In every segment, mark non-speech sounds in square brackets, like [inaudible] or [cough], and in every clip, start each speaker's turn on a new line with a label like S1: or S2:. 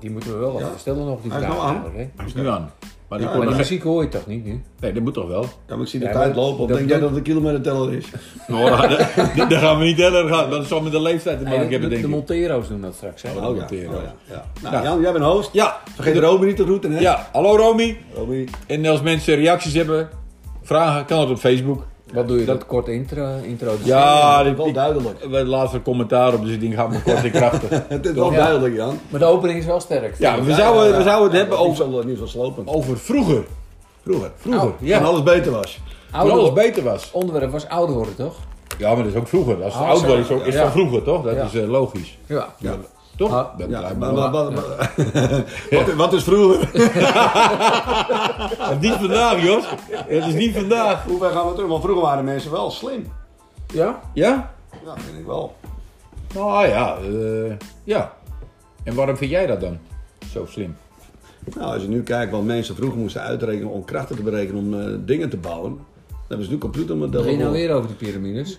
S1: die moeten we wel laten
S2: Ja.
S1: stellen nog, die
S2: Hij is
S1: vraag.
S2: nou aan.
S1: eigenlijk, hè?
S3: Hij is nu aan. Maar die
S2: Ja,
S3: kon
S1: Maar
S3: nog
S1: die
S3: geen-
S1: muziek hoor je toch niet nu?
S3: Nee, dat moet toch
S1: [laughs]
S3: wel?
S2: Ja, maar ik zie de
S1: Ja,
S2: tijd
S1: maar
S2: lopen. Op.
S1: dat-
S2: Denk jij
S1: dat-
S2: dat het een kilometerteller is?
S3: Nou, dat, [laughs] dat- dat gaan we niet verder gaan. Dat zal met de leeftijd te maken
S1: de,
S3: hebben, denk
S1: de
S3: ik.
S1: Montero's doen dat straks. Hè?
S3: Oh,
S2: ja.
S3: ja.
S2: Oh, ja. ja. Nou,
S3: Ja.
S2: Jan, jij bent host.
S3: Ja,
S2: Vergeet Romy niet te groeten, hè?
S3: ja, hallo Romy.
S2: Romy.
S3: En als mensen reacties hebben, vragen, kan het op Facebook.
S1: Wat doe je dat, kort intro? intro dus.
S3: Ja, dit-
S2: wel
S3: ik-
S2: duidelijk.
S3: we laten commentaar op, dus ik denk, gaat me kort en
S1: [laughs]
S3: krachtig.
S2: Het is wel
S1: Ja.
S2: duidelijk, Jan.
S1: Maar de opening is wel sterk.
S3: Ja, we zouden, we zouden het hebben
S2: ook
S3: over,
S2: zo niet zo slopend.
S3: over vroeger.
S2: Vroeger.
S3: Vroeger,
S1: Oh.
S2: Ja.
S3: ja.
S2: Toen alles beter was.
S3: Toen
S1: Ouder
S3: alles
S1: worden-
S3: beter was.
S1: onderwerp was ouder worden, toch?
S3: Ja, maar dat is ook vroeger. Als het
S1: Oh,
S3: oud
S1: zo.
S3: wordt, is het ook- is het
S1: Ja.
S3: van vroeger, toch? Dat
S1: Ja.
S3: is eh, logisch.
S1: Ja.
S2: Ja.
S3: Toch?
S1: Ah,
S3: Dat
S2: Ja,
S3: lijkt me
S2: maar,
S3: wel.
S2: maar, maar- [laughs] wat, wat is vroeger?
S3: Ah, Niet vandaag, Jos. Het is niet vandaag.
S2: Hoe ver gaan we terug? Want vroeger waren mensen wel slim.
S1: Ja?
S3: Ja?
S2: Ja, vind ik wel.
S3: Nou ja, eh, ja. En waarom vind jij dat dan zo slim? [laughs]
S2: Nou, als je nu kijkt wat mensen vroeger moesten uitrekenen om krachten te berekenen om eh, dingen te bouwen. Dan hebben ze nu computermodellen.
S1: Begin je nou
S2: voor.
S1: weer over de piramides?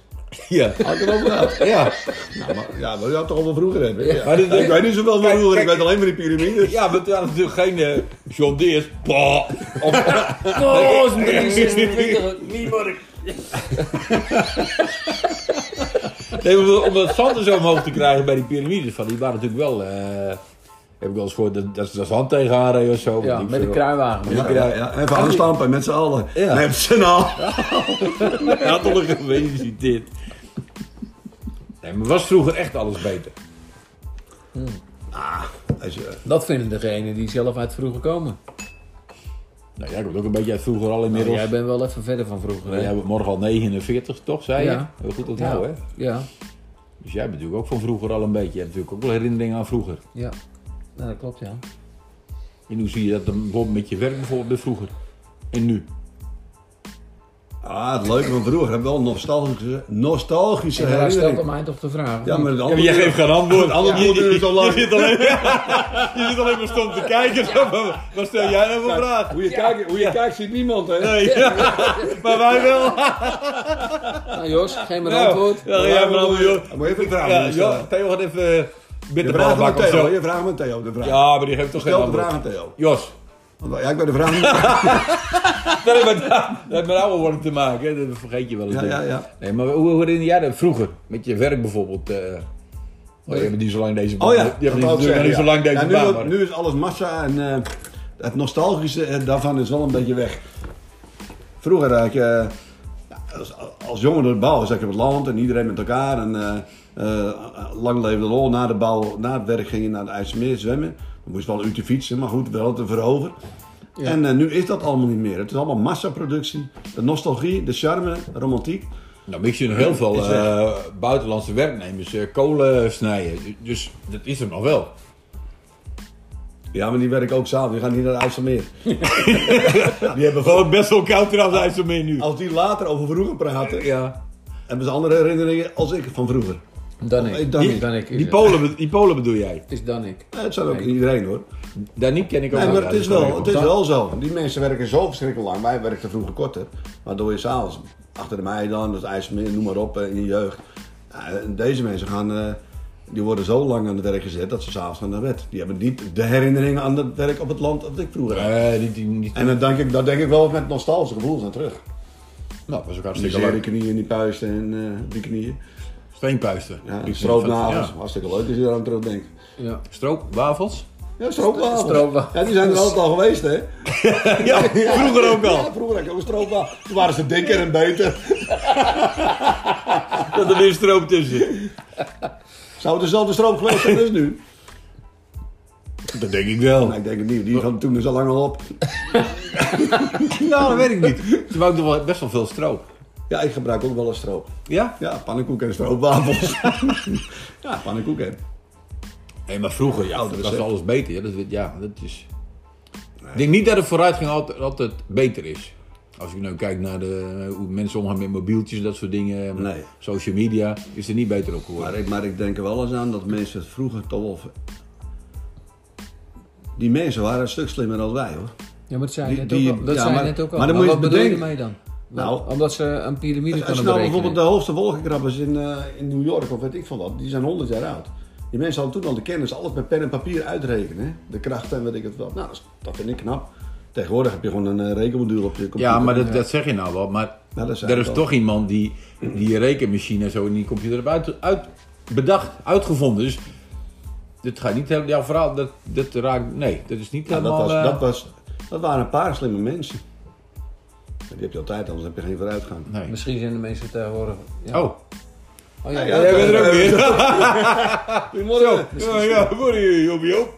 S3: Ja.
S2: Had ik erover gehad.
S3: Ja.
S2: Ja, maar, ja, maar je had toch over vroeger hebben. Ja.
S3: Maar dit-
S2: ik weet niet zoveel van
S3: Kijk,
S2: vroeger, ik
S3: kijk.
S2: weet alleen maar die piramides.
S3: Ja, maar toen hadden we natuurlijk geen eh, John Deere's. Bah. Of-
S1: Oh, [laughs] is een 326, niet worden.
S3: Nee, maar om dat zand er zo omhoog te krijgen bij die piramides. Van, die waren natuurlijk wel... eh, heb ik wel eens gehoord dat, dat ze daar zand tegen aanreden of zo.
S1: Ja,
S3: Weet ik
S1: met de
S3: veel.
S1: kruiwagen.
S2: Ja, ja, ja. Even aanstampen met z'n allen.
S3: Ja.
S2: Met z'n allen.
S3: Hij had al gefeliciteerd. Nee, maar was vroeger echt alles beter?
S2: Als je-
S1: Dat vinden degenen die zelf uit vroeger komen.
S3: Nou, jij komt ook een beetje uit vroeger al
S1: Maar
S3: inmiddels.
S1: Nou, jij bent wel even verder van vroeger.
S3: Jij
S1: hè?
S3: bent morgen al 49, toch? Zei je?
S1: Ja.
S3: Heel goed onthouden, hè?
S1: Ja,
S3: Dus jij bent natuurlijk ook van vroeger al een beetje. Je hebt natuurlijk ook wel herinneringen aan vroeger.
S1: ja. Nou, dat klopt, ja.
S3: En hoe zie je dat dan bijvoorbeeld met je werk bijvoorbeeld bij vroeger? En nu?
S2: Ah, het leuke van vroeger hebben we wel nostalgische, nostalgische
S1: En daar stelt het
S2: herinneringen.
S1: mij toch de vraag.
S2: Ja, maar het
S3: Ja,
S2: andere
S3: maar jij geeft geen antwoord.
S2: andere
S3: je,
S2: uur is al lang.
S3: je zit alleen, [laughs] je zit alleen maar stom te kijken. [laughs] Maar Wat stel jij nou voor vraag?
S2: Hoe je, kijkt, hoe je kijkt ziet niemand, hè?
S3: Nee, [laughs] maar wij wel.
S1: Nou, Jos, geef me een
S3: Nou,
S1: antwoord.
S3: Ja, jij maar allemaal, joh.
S2: Moet je even vragen.
S3: Ja,
S2: Ja,
S3: joh, Theo gaat even eh,
S2: Je
S3: met de
S2: vraagt
S3: bal
S2: aan
S3: bakken of
S2: Theo,
S3: zo.
S2: je vraagt aan Theo de vraag.
S3: Ja, maar die geeft toch geen
S2: Stel de vraag
S3: antwoord.
S2: aan Theo.
S3: Jos,
S2: Want, ja, ik ben de vraag niet.
S3: [laughs] dat heeft met, dat heeft met oude worden te maken, hè, dat vergeet je wel eens.
S2: Ja,
S3: denk ik.
S2: ja, ja.
S3: Nee, maar hoe hoe herinner jij dat vroeger? Met je werk bijvoorbeeld. eh oh, je hebt niet zo lang deze baan.
S2: Oh ja,
S3: je
S2: dat
S3: hebt niet,
S2: wou ik
S3: natuurlijk
S2: zeggen,
S3: nog niet
S2: ja.
S3: zo lang deze
S2: Ja, nu,
S3: baan.
S2: wordt-
S3: maar-
S2: nu is alles massa en eh, het nostalgische eh, daarvan is wel een beetje weg. Vroeger had je, eh, ja, als, als jongen door de bouw zat je op het land en iedereen met elkaar. En, eh, eh, lang leefde de lol, na de bouw, na het werk ging je naar het IJsselmeer zwemmen. Dan moest je wel een uurtje fietsen, maar goed, wel te verhogen. En eh, nu is dat allemaal niet meer. Het is allemaal massaproductie. De nostalgie, de charme, de romantiek.
S3: Nou, maar ik zie nog heel veel
S2: Is weg.
S3: eh, buitenlandse werknemers eh, kolen snijden. Dus dat is er nog wel.
S2: Ja, maar die werken ook samen. Die gaan niet naar het IJsselmeer.
S3: Die hebben gewoon best wel koud trouwens uit zo'n nu.
S2: Als die later over vroeger praten,
S3: Ja.
S2: Hebben ze andere herinneringen als ik van vroeger?
S1: Dan
S2: Eh,
S1: ik.
S2: dan
S1: Die-
S2: ik.
S1: Dan ik.
S3: Die Polen, be- die Polen bedoel jij?
S1: Het is dan ik.
S2: Eh, het zijn ook
S1: Nee.
S2: iedereen hoor.
S3: Daar niet ken ik ook
S2: Nee,
S3: wel
S2: maar het is,
S3: uit.
S2: wel, het is wel zo. Die mensen werken zo verschrikkelijk lang. Wij werkten vroeger korter. Maar door je s'avonds achter de mei dan, het IJsselmeer, noem maar op, eh, in je jeugd. Ja, en deze mensen gaan, eh, die worden zo lang aan het werk gezet dat ze s'avonds gaan naar bed. Die hebben niet de herinneringen aan het werk op het land dat ik vroeger had.
S3: Eh, niet, niet, niet-
S2: En dan denk ik, dat denk ik wel met nostalgische gevoelens aan terug.
S3: Nou, dat was ook
S2: Die
S3: hartstikke
S2: zere
S3: leuk.
S2: knieën, die puisten en eh, die knieën.
S3: Steenpuisten.
S2: Ja,
S3: Ik vind
S2: stroopnagels,
S3: het-
S2: hartstikke leuk als je eraan terugdenkt.
S1: Ja.
S3: ja. Stroopwafels?
S2: Ja, stroopwafels.
S1: Stroopwafels.
S2: Ja, die zijn er altijd al geweest, hè?
S3: Ja, vroeger ook al.
S2: Ja, vroeger had ik ook stroopwafels. Toen waren ze dikker en beter.
S3: Dat er weer stroop tussen zit.
S2: Zou het dezelfde stroop geweest zijn als nu?
S3: Dat denk ik wel.
S2: Nou, ik denk het niet. Die gaan toen dus al lang al op.
S3: Nou, dat weet ik niet. Ze wou toch wel best wel veel stroop.
S2: Ja, ik gebruik ook wel eens stroop.
S3: Ja?
S2: Ja, pannenkoek en stroopwafels. [laughs] ja, pannenkoek en.
S3: Nee, maar vroeger, ja,
S2: Oude
S3: Oh, dat was
S2: recept.
S3: alles beter. Ja, dat, ja, dat is... Ik denk niet dat de vooruitgang altijd, altijd beter is. Als ik nu kijk naar de, hoe mensen omgaan met mobieltjes, dat soort dingen.
S2: Nee.
S3: Social media, is er niet beter op geworden.
S2: Maar ik, maar ik denk er wel eens aan dat mensen het vroeger toch wel... Die mensen waren een stuk slimmer dan wij, hoor.
S1: Ja, maar dat zei je
S2: Die-
S1: net
S2: die-
S1: ook al. Dat
S2: ja,
S1: zei je
S2: maar-
S1: net ook al.
S2: maar dan
S1: Maar
S2: moet je
S1: wat bedoel je
S2: bedenken-
S1: ermee dan?
S2: Nou-
S1: Omdat ze een piramide
S2: Als je
S1: kunnen
S2: nou
S1: berekenen.
S2: bijvoorbeeld de hoogste wolkenkrabbers in, eh, in New York of weet ik van wat, die zijn 100 jaar oud. Die mensen hadden toen al de kennis, alles met pen en papier uitrekenen. Hè? De krachten en weet ik het wel. Nou, dat, is- dat vind ik knap. Tegenwoordig heb je gewoon een eh, rekenmodule op je computer.
S3: Ja, maar dat, dat zeg je nou wel. Maar
S2: Nou, dat zei
S3: er
S2: ik
S3: is
S2: al.
S3: toch iemand die die rekenmachine en zo in die computer heeft uit, uit, bedacht, uitgevonden. Dus dit gaat niet helemaal. Jouw verhaal, dat, dat raakt. Nee, dat is niet
S2: Ja, dat,
S3: helemaal.
S2: was,
S3: eh,
S2: dat, was, dat waren een paar slimme mensen. En Die heb je altijd, anders heb je geen vooruitgang.
S3: nee.
S1: Misschien zijn de mensen tegenwoordig... Ja.
S3: Oh,
S1: Oh, ja,
S2: Ja,
S1: ja,
S3: jij bent er ook
S2: eh,
S3: weer.
S2: Goedemorgen.
S3: Ja, ja, eh, voor je, Job, Job.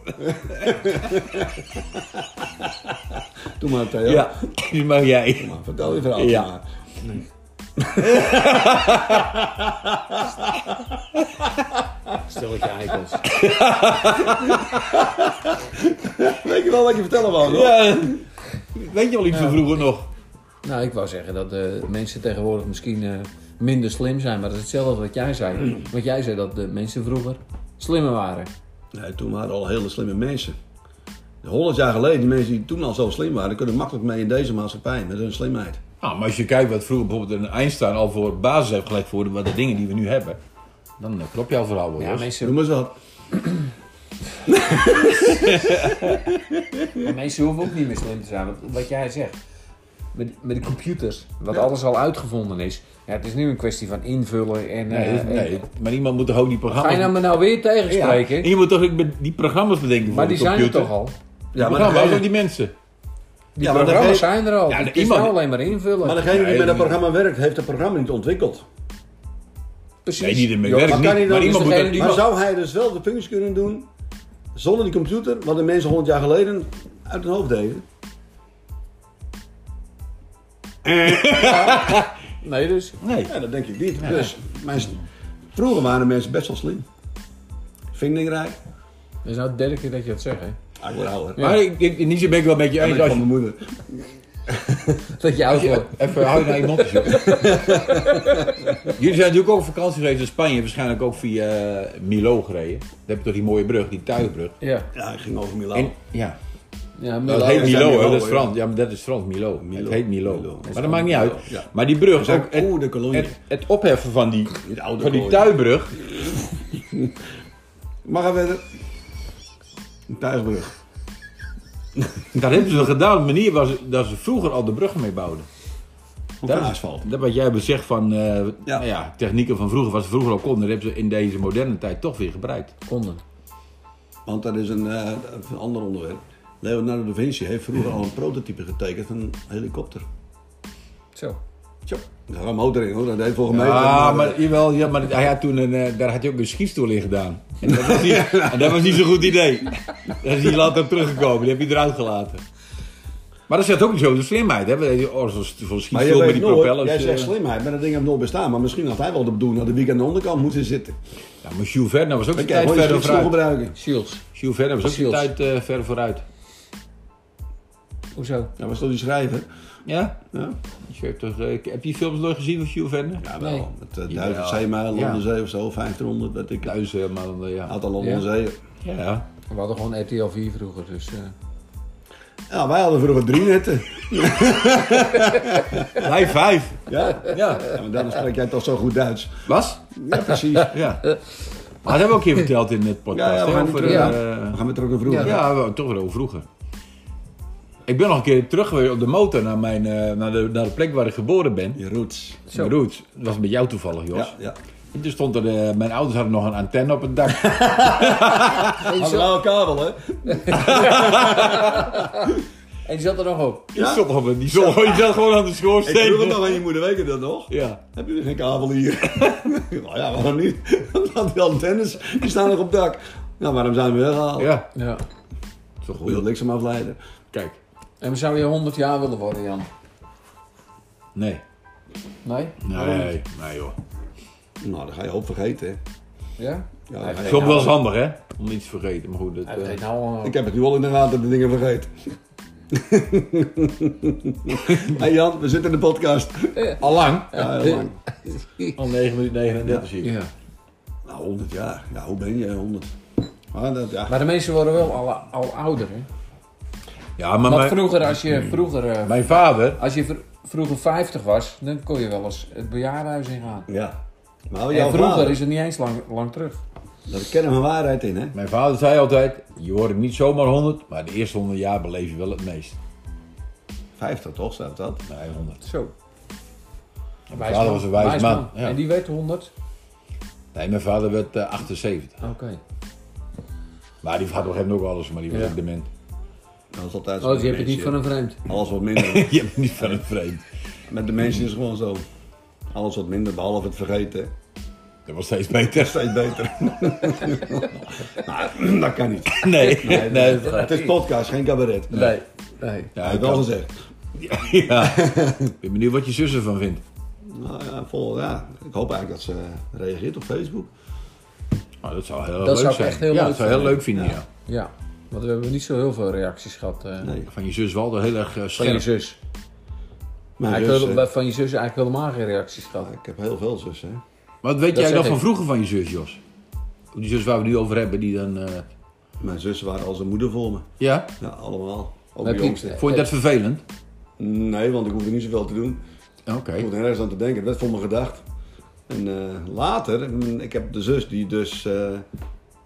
S2: Doe maar, Theo.
S3: Ja, die mag jij.
S2: Kom maar, vertel je verhaal.
S3: Ja.
S2: maar.
S1: Stelletje eikels.
S2: [laughs] Weet je wel wat je vertellen wou? hoor?
S3: Ja, weet je wel iets van vroeger nog?
S1: Nou, ik wou zeggen dat eh, mensen tegenwoordig misschien eh, minder slim zijn. Maar dat is hetzelfde wat jij zei. Want jij zei dat de mensen vroeger slimmer waren.
S2: Nee, toen waren al hele slimme mensen. 100 jaar geleden, die mensen die toen al zo slim waren, kunnen makkelijk mee in deze maatschappij met hun slimheid.
S3: Nou, maar als je kijkt wat vroeger bijvoorbeeld een Einstein al voor basis heeft gelegd voor de, wat de dingen die we nu hebben, dan eh, klopt jouw verhaal wel.
S1: Ja,
S3: Jos.
S1: mensen,
S2: Noem eens wat.
S1: maar mensen hoeven ook niet meer slim te zijn. Want wat jij zegt, met, met de computers, wat alles al uitgevonden is. Ja, het is nu een kwestie van invullen en...
S3: Nee,
S1: eh,
S3: nee,
S1: en-
S3: maar iemand moet toch ook die
S1: Ga
S3: programma's...
S1: je nou me nou weer
S3: Oh. Ja,
S1: tegenspreken?
S3: en je moet toch ook be- die programma's bedenken
S1: Maar
S3: voor
S1: die
S3: de
S1: zijn er
S3: computer?
S1: toch al?
S2: Ja,
S3: Ja,
S2: maar
S3: maar
S2: dan ga je-
S3: die mensen.
S1: Die
S2: Ja, maar dan
S1: programma's
S2: ga
S1: zijn er al.
S3: Ja,
S1: het is
S3: iemand-
S1: nou alleen maar invullen.
S2: Maar degene die
S3: Nee,
S2: met dat
S3: nee.
S2: programma werkt, heeft het programma niet ontwikkeld.
S1: Precies.
S3: Nee, die ermee
S1: Ja,
S3: werken
S2: maar
S3: niet.
S2: kan hij dan-
S3: maar iemand moet
S1: is
S3: dat...
S1: degene die-
S2: Maar zou hij dus wel de functie kunnen doen zonder die computer, wat de mensen 100 jaar geleden uit hun hoofd deden?
S1: Nee, dus.
S3: Nee.
S2: Ja, dat denk ik niet. Dus mensen, vroeger waren mensen best wel slim. Vindingrijk.
S1: Dat is nou de derde keer dat je dat zegt, hè? [laughs]
S2: Ah, ik word ouder.
S3: Maar ik, ik, in die zin ben ik wel een beetje
S2: Ik
S3: eens.
S2: ben
S3: Als
S2: van
S3: je,
S2: mijn moeder.
S1: Dat je oud wordt.
S3: even hou je naar je mond eens, joh. [laughs] Jullie zijn natuurlijk ook op vakantie geweest in Spanje. Waarschijnlijk ook via eh, Milo gereden. Daar heb je toch die mooie brug, die tuigbrug.
S1: Ja.
S2: Ja, ik ging over Milaan.
S3: En, ja,
S1: ja
S3: dat
S1: Milo.
S3: heet
S2: Ja,
S3: Milo,
S2: Milo,
S3: hè, dat is
S2: ja.
S3: Frans. Ja, maar dat is Frans, Milo. Het heet Milo.
S2: Milo.
S3: Maar dat maakt niet uit.
S2: Ja.
S3: Maar die brug,
S2: Dat is
S3: ook
S2: ook
S3: het,
S2: oer de kolonie.
S3: het, het opheffen van die,
S2: Die oude
S3: van die
S2: kolonie.
S3: tuibrug.
S2: Mag er verder? Een tuigbrug.
S3: Dat hebben ze gedaan op een manier waar ze, dat ze vroeger al de bruggen mee bouwden.
S2: Van
S3: Dat-
S2: asfalt.
S3: Dat wat jij bezegt van eh, nou ja, technieken van vroeger, wat ze vroeger al konden, dat hebben ze in deze moderne tijd toch weer gebruikt.
S1: Konden.
S2: Want dat is een, eh, een ander onderwerp. Leonardo da Vinci heeft vroeger al een prototype getekend van een helikopter.
S1: Zo.
S2: Tja, daar gaat een motor in hoor, dat deed volgens mij.
S3: Ja, Ah, maar, jawel, ja, maar hij had toen een, eh, daar had hij ook een schietstoel in gedaan. En dat
S2: [laughs]
S3: was niet, en dat was niet zo'n goed idee. Dat is hij later teruggekomen, die heb je eruit gelaten. Maar dat zegt ook niet zo de slimheid, hè? want, eh, Oh, zo'n zo'n
S2: Maar je
S3: schietstoel met
S2: weet
S3: die
S2: nooit,
S3: propellers.
S2: jij zegt
S3: eh.
S2: slimheid, maar dat ding heeft nooit bestaan. Maar misschien had hij wel de bedoeling dat de wiek aan de onderkant moeten zitten.
S3: Ja, maar Jules Verne was ook
S2: Dan
S3: zijn
S2: kan je
S3: tijd
S2: gewoon je
S3: verder
S2: schietstoel
S3: vooruit.
S2: gebruiken.
S1: Shields.
S3: Jules Verne was ook zijn
S1: Shields.
S3: tijd eh, verder vooruit.
S1: Hoezo?
S2: Ja, was toch die schrijver?
S3: Ja?
S2: Ja,
S3: Je hebt toch, eh, heb je films nooit gezien van Jules Verne?
S2: ja
S1: Nee.
S2: wel. Met eh,
S3: Ja.
S2: duizend zeemijlen
S3: Ja.
S2: onder zee of zo, 1500, weet ik. Een
S3: Thuis, eh, maar dan, eh, ja.
S2: aantal landen
S1: Ja.
S2: onder zee.
S3: ja.
S1: We hadden gewoon RTL 4 vroeger, dus.
S3: [laughs]
S1: eh,
S2: Ja, wij hadden vroeger drie netten. [laughs]
S3: Wij vijf.
S2: Ja?
S3: Ja.
S2: ja, maar dan spreek jij toch zo goed Duits.
S3: Was?
S2: Ja, precies.
S3: Ja. Maar dat hebben we ook een keer verteld in het podcast.
S2: Eh. Ja, ja, we
S3: hè,
S2: gaan niet
S3: over,
S2: terug.
S1: Ja.
S3: eh,
S2: We gaan weer terug naar vroeger.
S3: ja, we- toch wel over vroeger. Ik ben nog een keer terug geweest op de motor naar, mijn, eh, naar, de, naar de plek waar ik geboren ben.
S2: Je roots.
S1: Zo.
S3: Mijn roots. Dat was met jou toevallig, Jos.
S2: Ja, ja.
S3: En toen stond er, eh, mijn ouders hadden nog een antenne op het dak.
S1: En, die zat,
S2: Hallo kabel, hè?
S1: en die zat er nog op.
S3: Die stond op een- die stond die zat gewoon aan de
S2: Ik vroeg het
S3: schoorsteen.
S2: nog aan je moeder, weet je dat nog?
S3: Ja.
S2: Hebben jullie geen kabel hier? [laughs] nou ja, waarom niet? [laughs] Want die antennes, die staan nog op het dak. Nou, waarom zijn we weggehaald?
S3: Ja.
S1: Ja.
S3: Zo
S2: Wil je
S3: goed.
S2: bliksem afleiden?
S3: Kijk.
S1: En we zouden je 100 jaar willen worden, Jan.
S3: Nee.
S1: Nee?
S2: Oh.
S3: Nee. Nee, joh.
S2: Nou, dan ga je hoop vergeten, hè?
S1: Ja?
S2: Ja,
S1: Hij
S2: ja.
S1: vergeet
S3: Soms wel
S1: nou-
S3: eens handig, hè? Om niets te vergeten. Maar goed, dat,
S1: Hij
S3: eh,
S1: vergeet nou al.
S2: Ik heb het nu al in de gaten, de dingen vergeten. [laughs] hey Jan, we zitten in de podcast.
S3: Allang?
S2: Ja, heel lang.
S3: Al 9 minuten 39 hier.
S1: Ja.
S2: Nou, 100 jaar. Ja, hoe ben je 100? Maar dat, ja.
S1: Maar de mensen worden wel al, al ouder, hè?
S3: Ja, maar
S1: Want
S3: mijn,
S1: vroeger, als je vroeger, eh,
S3: mijn vader...
S1: als je vr- vroeger 50 was, dan kon je wel eens het bejaardenhuis ingaan.
S2: ja. Maar
S1: En
S2: jouw
S1: vroeger
S2: vader,
S1: is het niet eens lang, lang terug.
S2: Daar kennen we waarheid in, hè?
S3: Mijn vader zei altijd, je wordt niet zomaar 100, maar de eerste 100 jaar beleef je wel het meest.
S2: 50 toch, staat dat?
S3: Nee, 100.
S1: Zo.
S3: Mijn vader was een wijs, man. Ja.
S1: En die werd 100?
S3: Nee, mijn vader werd eh, 78.
S1: Oké.
S3: Maar die had op een gegeven moment ook alles, maar die was
S1: Ja.
S3: ook dement. [laughs]
S2: Dat is altijd zo
S1: Oh,
S2: met
S1: dus je hebt het niet
S2: mensen.
S1: van een vreemd.
S2: Alles wat minder.
S3: Je bent niet van het vreemd.
S2: Met de mensen is het gewoon zo. Alles wat minder, behalve het vergeten. hè.
S3: Dat was steeds beter. [laughs]
S2: Steeds beter. [laughs] nou, dat kan niet.
S3: Nee, nee. dat gaat
S2: Het is podcast, geen cabaret.
S1: Nee. Nee.
S3: Ja,
S2: Hij heeft
S3: ik
S2: wel
S3: kan-
S2: gezegd.
S3: [laughs] Ja. Ik ben benieuwd wat je zus ervan vindt.
S2: Nou ja, vol, ja, ik hoop eigenlijk dat ze reageert op Facebook.
S3: Nou, dat zou heel leuk
S1: zou ik
S3: zijn.
S1: echt heel
S3: ja,
S1: leuk
S3: dat zou heel
S1: vinden.
S3: leuk vinden, ja.
S1: Ja. Want we hebben niet zo heel veel reacties gehad. eh,
S2: Nee,
S3: Van je zus Waldo heel erg eh,
S1: Van je
S3: scherp.
S1: zus.
S2: mijn
S1: Eigenlijk
S2: zus,
S1: wel-
S2: eh,
S1: van je zus eigenlijk helemaal geen reacties gehad.
S2: ik heb heel veel zussen. hè.
S3: Wat weet
S1: Dat
S3: jij
S1: zeg
S3: nog
S1: ik.
S3: van vroeger van je zus, Jos? Die zus waar we het nu over hebben, die dan... eh,
S2: Mijn zussen waren als een moeder voor me.
S3: Ja?
S2: Ja, allemaal. Ook
S1: Heb
S2: de
S1: je-
S2: jongste.
S3: Vond je dat vervelend?
S2: Nee, want ik hoefde niet zoveel te doen.
S3: Oké.
S2: Ik hoefde nergens aan te denken. Het werd voor me gedacht. En eh, later, mm, ik heb de zus die dus eh,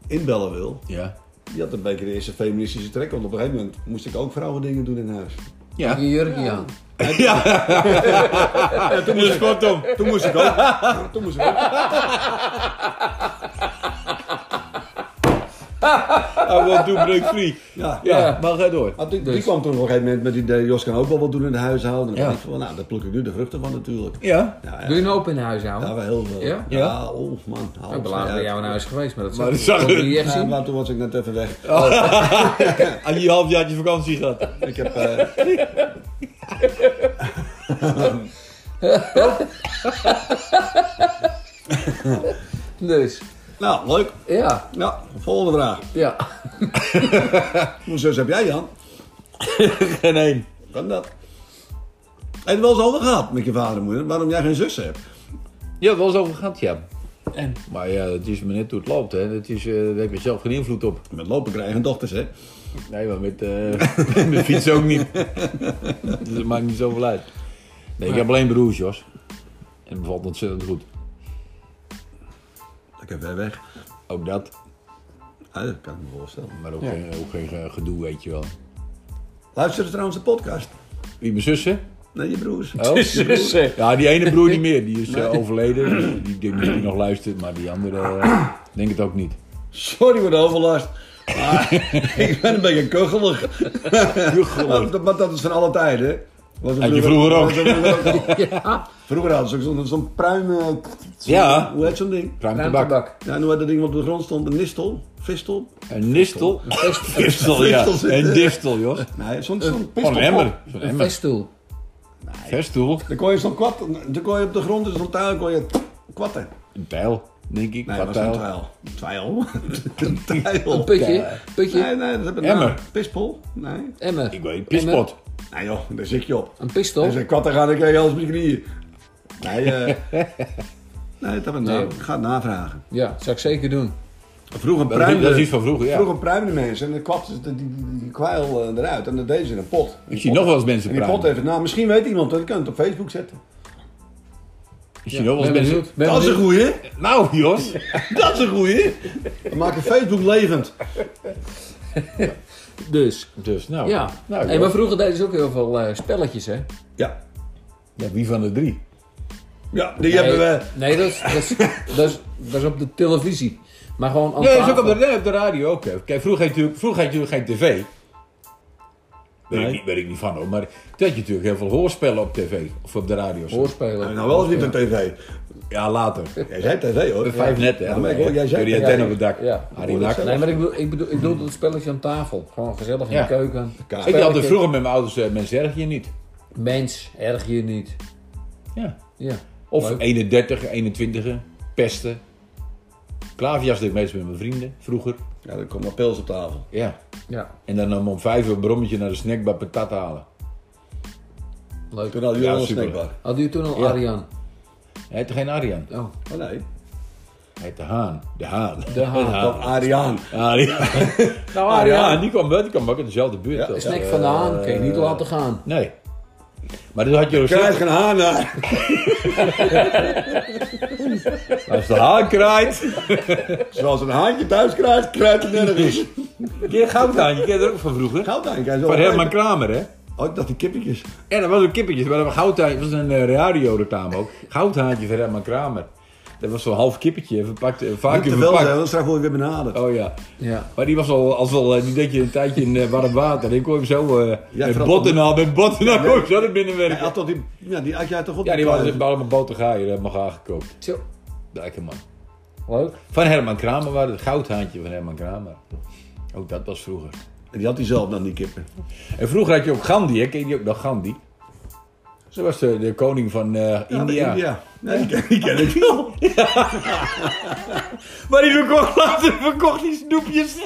S2: inbellen wil.
S3: Ja.
S2: Die had een beetje de eerste feministische trek. Want op een gegeven moment moest ik ook vrouwen dingen doen in huis.
S3: Ja.
S1: Je jurkje aan.
S3: Ja. Toen moest kortom.
S2: Toen moest ik ook. Toen moest ik ook.
S3: [laughs] I want to break free.
S2: Ja.
S3: Ja, maar ga door.
S2: Maar die, die
S1: Dus-
S2: kwam toen op een gegeven moment met het idee, Jos kan ook wel wat doen in de huishouden. En dan
S3: Ja.
S2: dacht ik van, nou, daar pluk ik nu de vruchten van natuurlijk.
S3: Ja.
S2: Ja,
S1: Doe je
S2: ja,
S1: een open huis houden?
S2: ja wel heel veel.
S1: Dus- Ja?
S3: Ja.
S2: oh man. haal
S1: ik
S2: het
S1: ben laatst bij
S2: uit.
S1: jou nou. in huis geweest, maar dat
S3: Maar dat
S1: zag
S3: zag
S1: ik
S3: je.
S1: niet echt
S2: Ja,
S1: zien.
S2: maar toen was ik net even weg.
S3: Aan die halfjaartje vakantie gehad.
S2: Ik heb... eh,
S1: Dus,
S2: nou, leuk.
S1: ja,
S2: Ja, volgende vraag.
S1: ja.
S2: Hoe zus heb jij Jan?
S3: Geen één.
S2: Kan dat? Heb je het wel eens over gehad met je vader en moeder? Waarom jij geen zussen hebt?
S3: Ja, wel eens over gehad, ja.
S1: En?
S3: Maar ja, het is me net hoe het loopt, hè. Het is, eh, daar heb je zelf geen invloed op.
S2: Met lopen krijgen dochters, hè?
S3: Nee, maar met, [laughs] eh met fiets ook niet. dus het maakt niet zoveel uit. Nee, ik heb alleen broers, Jos. En het bevalt ontzettend goed.
S2: Ik heb weer weg.
S3: Ook dat.
S2: Ja, dat kan ik me voorstellen.
S3: Maar ook, geen, ook geen eh, gedoe, weet je wel.
S2: Luister trouwens de podcast.
S3: Wie, mijn zussen?
S2: Nee, [laughs] je broers.
S3: Oh.
S2: Dus,
S3: Ja, die ene broer niet meer. Die is eh, overleden. Dus die denk misschien nog luistert, maar die andere eh, denk het ook niet.
S2: Sorry voor de overlast. Maar [laughs] ik ben een beetje kuggelig. Maar, maar dat is van alle tijden. hè? Was er
S3: Had je vroeger ook. [laughs]
S1: Ja,
S2: Vroeger hadden ze ook zo'n zo'n pruim... eh, zo'n-
S3: Ja.
S2: Hoe heet zo'n ding?
S3: Ruimte
S1: ruimtebak.
S3: bak.
S2: Ja, en hoe heet dat ding wat op de grond stond? Een nistel? Vistel?
S3: Een nistel. [laughs] Distel, ja.
S2: Distel zit,
S3: Een
S2: eh.
S3: distel, Jos.
S2: Nee, zo'n zo'n
S3: Eh, Gewoon een
S2: pistelpop.
S3: emmer. Zo'n
S1: Een
S3: emmer.
S1: veststoel.
S3: Verstoel.
S2: Dan kon je zo'n kwad... Dan kon je op de grond in zo'n tuil kon je kwatten.
S3: Een pijl, denk ik.
S2: Nee,
S3: Wat
S2: dat was
S3: pijl?
S2: een tuil. Tuil? [laughs] een tuil.
S1: Een putje, putje,
S2: Nee, nee, dat heb ik
S3: Emmer.
S2: Pispel? Nee.
S1: emmer.
S3: Ik weet niet.
S1: Emmer.
S3: Pispot.
S2: Nee joh, daar zit je op.
S1: Een
S2: Hij
S1: pistool.
S2: zei, kwatten gaan, Dus ik krijg je alles op je knieën. Nee,
S3: [laughs]
S2: eh, nee dat heb ik na-
S1: Nee.
S2: ik ga het navragen.
S1: Ja, zou ik zeker doen.
S2: Vroeger
S3: Dat is-
S2: pruimden,
S3: dat is iets van vroeger, ja.
S2: vroeger pruimden mensen en dan kwapten ze die, die, die, die kwijl eh, eruit en dat deden ze in een pot.
S1: eh,
S3: Ik zie nog wel eens mensen
S2: En die pot
S3: praten.
S2: even, nou misschien weet iemand dat, ik kan het op Facebook zetten.
S3: Ik zie nog wel eens
S1: ben
S3: mensen...
S1: benieuwd. Ben
S2: dat is een
S1: benieuwd.
S2: goeie,
S3: [laughs] Nou, Jos.
S1: [laughs]
S2: dat is een goeie. We maken Facebook levend.
S1: Dus,
S3: Dus, nou.
S1: ja.
S3: Nou,
S1: Hey, maar
S3: Jos.
S1: vroeger deden ze ook heel veel eh, spelletjes, hè?
S2: Ja,
S3: Ja, wie van de drie?
S2: ja die hebben we. eh,
S1: Nee, dat is, dat, is, dat, is, dat is op de televisie. Maar gewoon aan
S3: Nee, dat is ook
S1: tafel.
S3: op de, nee, op de radio ook. hè. Kijk, vroeger had je natuurlijk, vroeger had je natuurlijk geen tv. Weet,
S2: Nee.
S3: ik niet, weet ik niet van hoor, maar toen had je natuurlijk heel veel hoorspellen op tv of op de radio.
S1: Hoorspelen.
S2: Nou wel eens niet op tv.
S3: Ja, later.
S2: Jij zei tv hoor.
S3: Vijf net hè.
S2: Ja, maar ik hoor, jij
S3: Kun
S2: zei
S3: je
S2: het.
S3: antenne op het dak.
S1: Ja.
S3: Harry Nack.
S1: Nee, maar ik bedoel, ik bedoel, ik bedoel dat spelletje aan tafel. Gewoon gezellig in
S3: Ja.
S1: de keuken.
S2: Kaas.
S3: Ik had altijd
S1: Spelletje.
S3: vroeger met mijn ouders, eh, mensen erg je niet.
S1: Mens, erg je niet.
S3: Ja.
S1: Ja.
S3: Of
S1: Leuk.
S3: 31, 21, pesten. Klaverjas deed ik meestal met mijn vrienden, vroeger.
S2: Ja, er komt maar pils op tafel.
S3: Ja.
S1: Ja,
S3: En dan om om vijf uur een brommetje naar de snackbar patat halen.
S1: leuk.
S2: Toen hadden jullie
S3: Ja,
S2: al een
S3: super.
S2: snackbar.
S1: Hadden jullie toen al
S3: Ja.
S1: Arjan?
S3: Hij heette geen Arjan,
S1: Oh,
S2: Oh nee.
S3: hij heette Haan. De Haan.
S1: de haan.
S2: Dat Ariaan.
S3: Arjan.
S1: Nou,
S3: Ah, ja, die kwam wel, die kwam ook in dezelfde buurt.
S2: Ah, Ja,
S3: als,
S1: Snack
S3: eh,
S1: van de haan, kan je niet laten gaan.
S3: Nee. Maar dat had je nog
S2: Krijg
S3: steeds.
S2: geen haan naar.
S3: Als de haan kraait.
S2: Zoals een haantje thuis krijgt, krijgt het nergens.
S3: Ken je Goudhaan? Je kent er ook van vroeger.
S2: Goudhaantje. hij is wel
S3: Van
S2: leuk.
S3: Herman Kramer, hè?
S2: Oh, ik dacht die kippetjes.
S3: En dat was ook kippetjes, maar dat was goudhaantje. Dat was een eh, radioreclame ook. Goudhaantje van Herman Kramer. Dat was zo'n half kippetje, verpakt, eh,
S2: Moet
S3: vacuüm
S2: er wel zijn,
S3: verpakt.
S2: want straks word ik weer benaderd.
S3: Oh ja.
S1: Ja.
S3: Maar die was al, als al eh, die deed je een tijdje in eh, warm water. Die kon je hem zo eh
S2: Ja,
S3: met
S2: vooral-
S3: botten aan, met botten aan, kon je hem zo naar binnen
S2: Hij
S3: werken.
S2: had toch die, ja, die had jij toch op
S3: Ja, die
S2: de
S3: was
S2: kluis?
S3: allemaal botergaaien, dat mag aangekookt.
S1: Zo.
S3: Lekker man.
S1: Leuk.
S3: Van Herman Kramer waren het goudhaantje van Herman Kramer. Ook dat was vroeger.
S2: En Die had hij zelf dan, die kippen.
S3: En vroeger had je ook Gandhi, hè? Ken je die ook nog Gandhi? Zo was de, de koning van eh, India.
S2: India. Nee, die ken, die ken ik
S3: [laughs]
S2: wel.
S3: Maar die verkocht [laughs] later verkocht die snoepjes.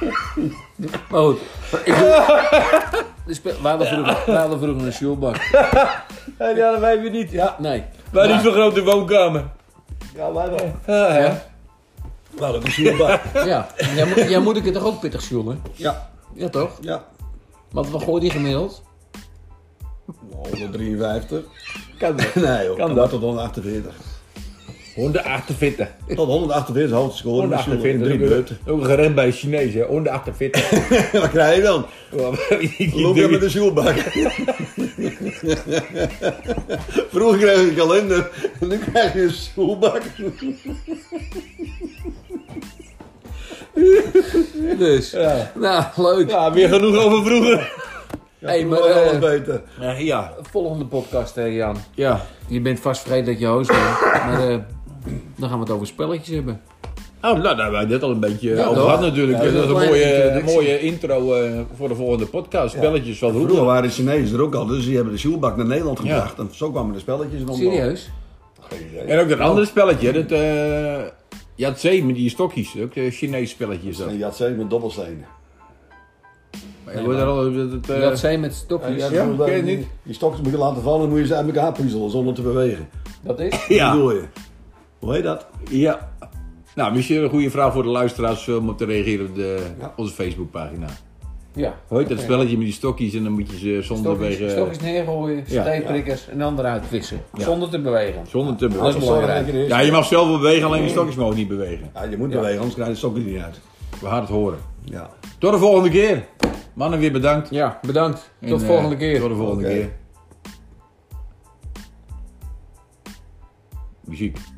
S1: Maar goed. Ik doe- [laughs] Er spe- We hadden vroeger, we hadden vroeger een shoelbak.
S3: En die hadden wij weer niet. Ja.
S1: Nee.
S3: Wij
S1: Maar-
S3: niet zo'n grote woonkamer.
S2: Ja, wij wel.
S3: Ah, ja.
S2: Nou, dat is hierbij.
S1: Ja. Jij, moet- jij moet ik het toch ook pittig sjoelen?
S2: Ja,
S1: Ja toch?
S2: ja.
S1: Want wat gooit die gemiddeld?
S2: 153.
S3: Kan [laughs] dat.
S2: Nee joh,
S3: Kan
S2: kan dat
S3: dat.
S2: tot 148.
S3: 148.
S2: Tot 148 hoofdscore. in de school, in
S3: 148.
S2: Drie
S3: Dat
S2: beurten.
S3: is Ook ook een gerecht bij Chinees, hè? 148. [laughs]
S2: Wat krijg je dan? Lopen met
S3: Loop
S2: de zielbak. Vroeger kreeg je een kalender en nu krijg je een zielbak.
S1: Dus.
S3: Ja.
S1: Nou, leuk.
S3: Ja, Ah, weer genoeg over vroeger.
S1: Hey, maar,
S2: Vroeger was
S1: eh,
S2: alles beter.
S3: ja.
S1: Volgende podcast, hè, Jan.
S3: Ja.
S1: Je bent vast vreed dat je host bent. Maar eh, dan gaan we het over spelletjes hebben.
S3: Oh, nou, daar hebben we net al een beetje
S1: Ja,
S3: over
S1: toch?
S3: gehad natuurlijk.
S1: Ja,
S3: dat is een
S1: kleine
S3: mooie,
S1: introductie.
S3: mooie intro eh, voor de volgende podcast. Spelletjes van
S2: Vroeger
S3: Roel.
S2: waren de Chinezen er ook al, dus die hebben de zielbak naar Nederland gebracht. En zo kwamen de spelletjes in omloop.
S1: Serieus?
S2: Geen idee.
S3: En ook dat andere spelletje, hè, dat... eh Yatze met die stokjes. Ook eh, een Chinees spelletje is dat.
S2: En je had zeven met dobbelstenen.
S3: Ja, wordt er al, dat, dat, eh,
S1: Dat zijn met stokjes.
S2: Ja,
S3: ja,
S2: bedoel,
S3: ken je
S2: die-
S3: niet?
S2: Die stokjes moet je laten vallen en moet je ze uit elkaar puzzelen zonder te bewegen.
S1: Dat is?
S2: Dat
S3: ja,
S2: bedoel je. Hoe heet dat?
S3: ja. Nou, misschien een goede vraag voor de luisteraars eh, om op te reageren op de,
S2: Ja.
S3: onze Facebookpagina.
S1: Ja.
S3: Hoe heet dat spelletje met die stokjes en dan moet je ze zonder,
S1: Stokjes,
S3: bewegen-
S1: stokjes neergooien,
S3: eh, Ja.
S1: steekprikkers en dan eruit vissen. Zonder te bewegen.
S3: zonder te
S1: Dat is
S3: bewegen.
S1: belangrijk.
S2: Zorg dat je-
S3: Ja, je mag zelf wel bewegen, alleen de stokjes mogen niet bewegen.
S2: Ja, je moet bewegen, anders krijg je de stokjes niet uit.
S3: We gaan het horen.
S2: Ja.
S3: Tot de volgende keer. Mannen, weer bedankt.
S1: Ja, bedankt.
S3: En,
S1: Tot de
S3: eh,
S1: volgende keer.
S3: Tot de volgende
S2: Oké.
S3: keer. Muziek.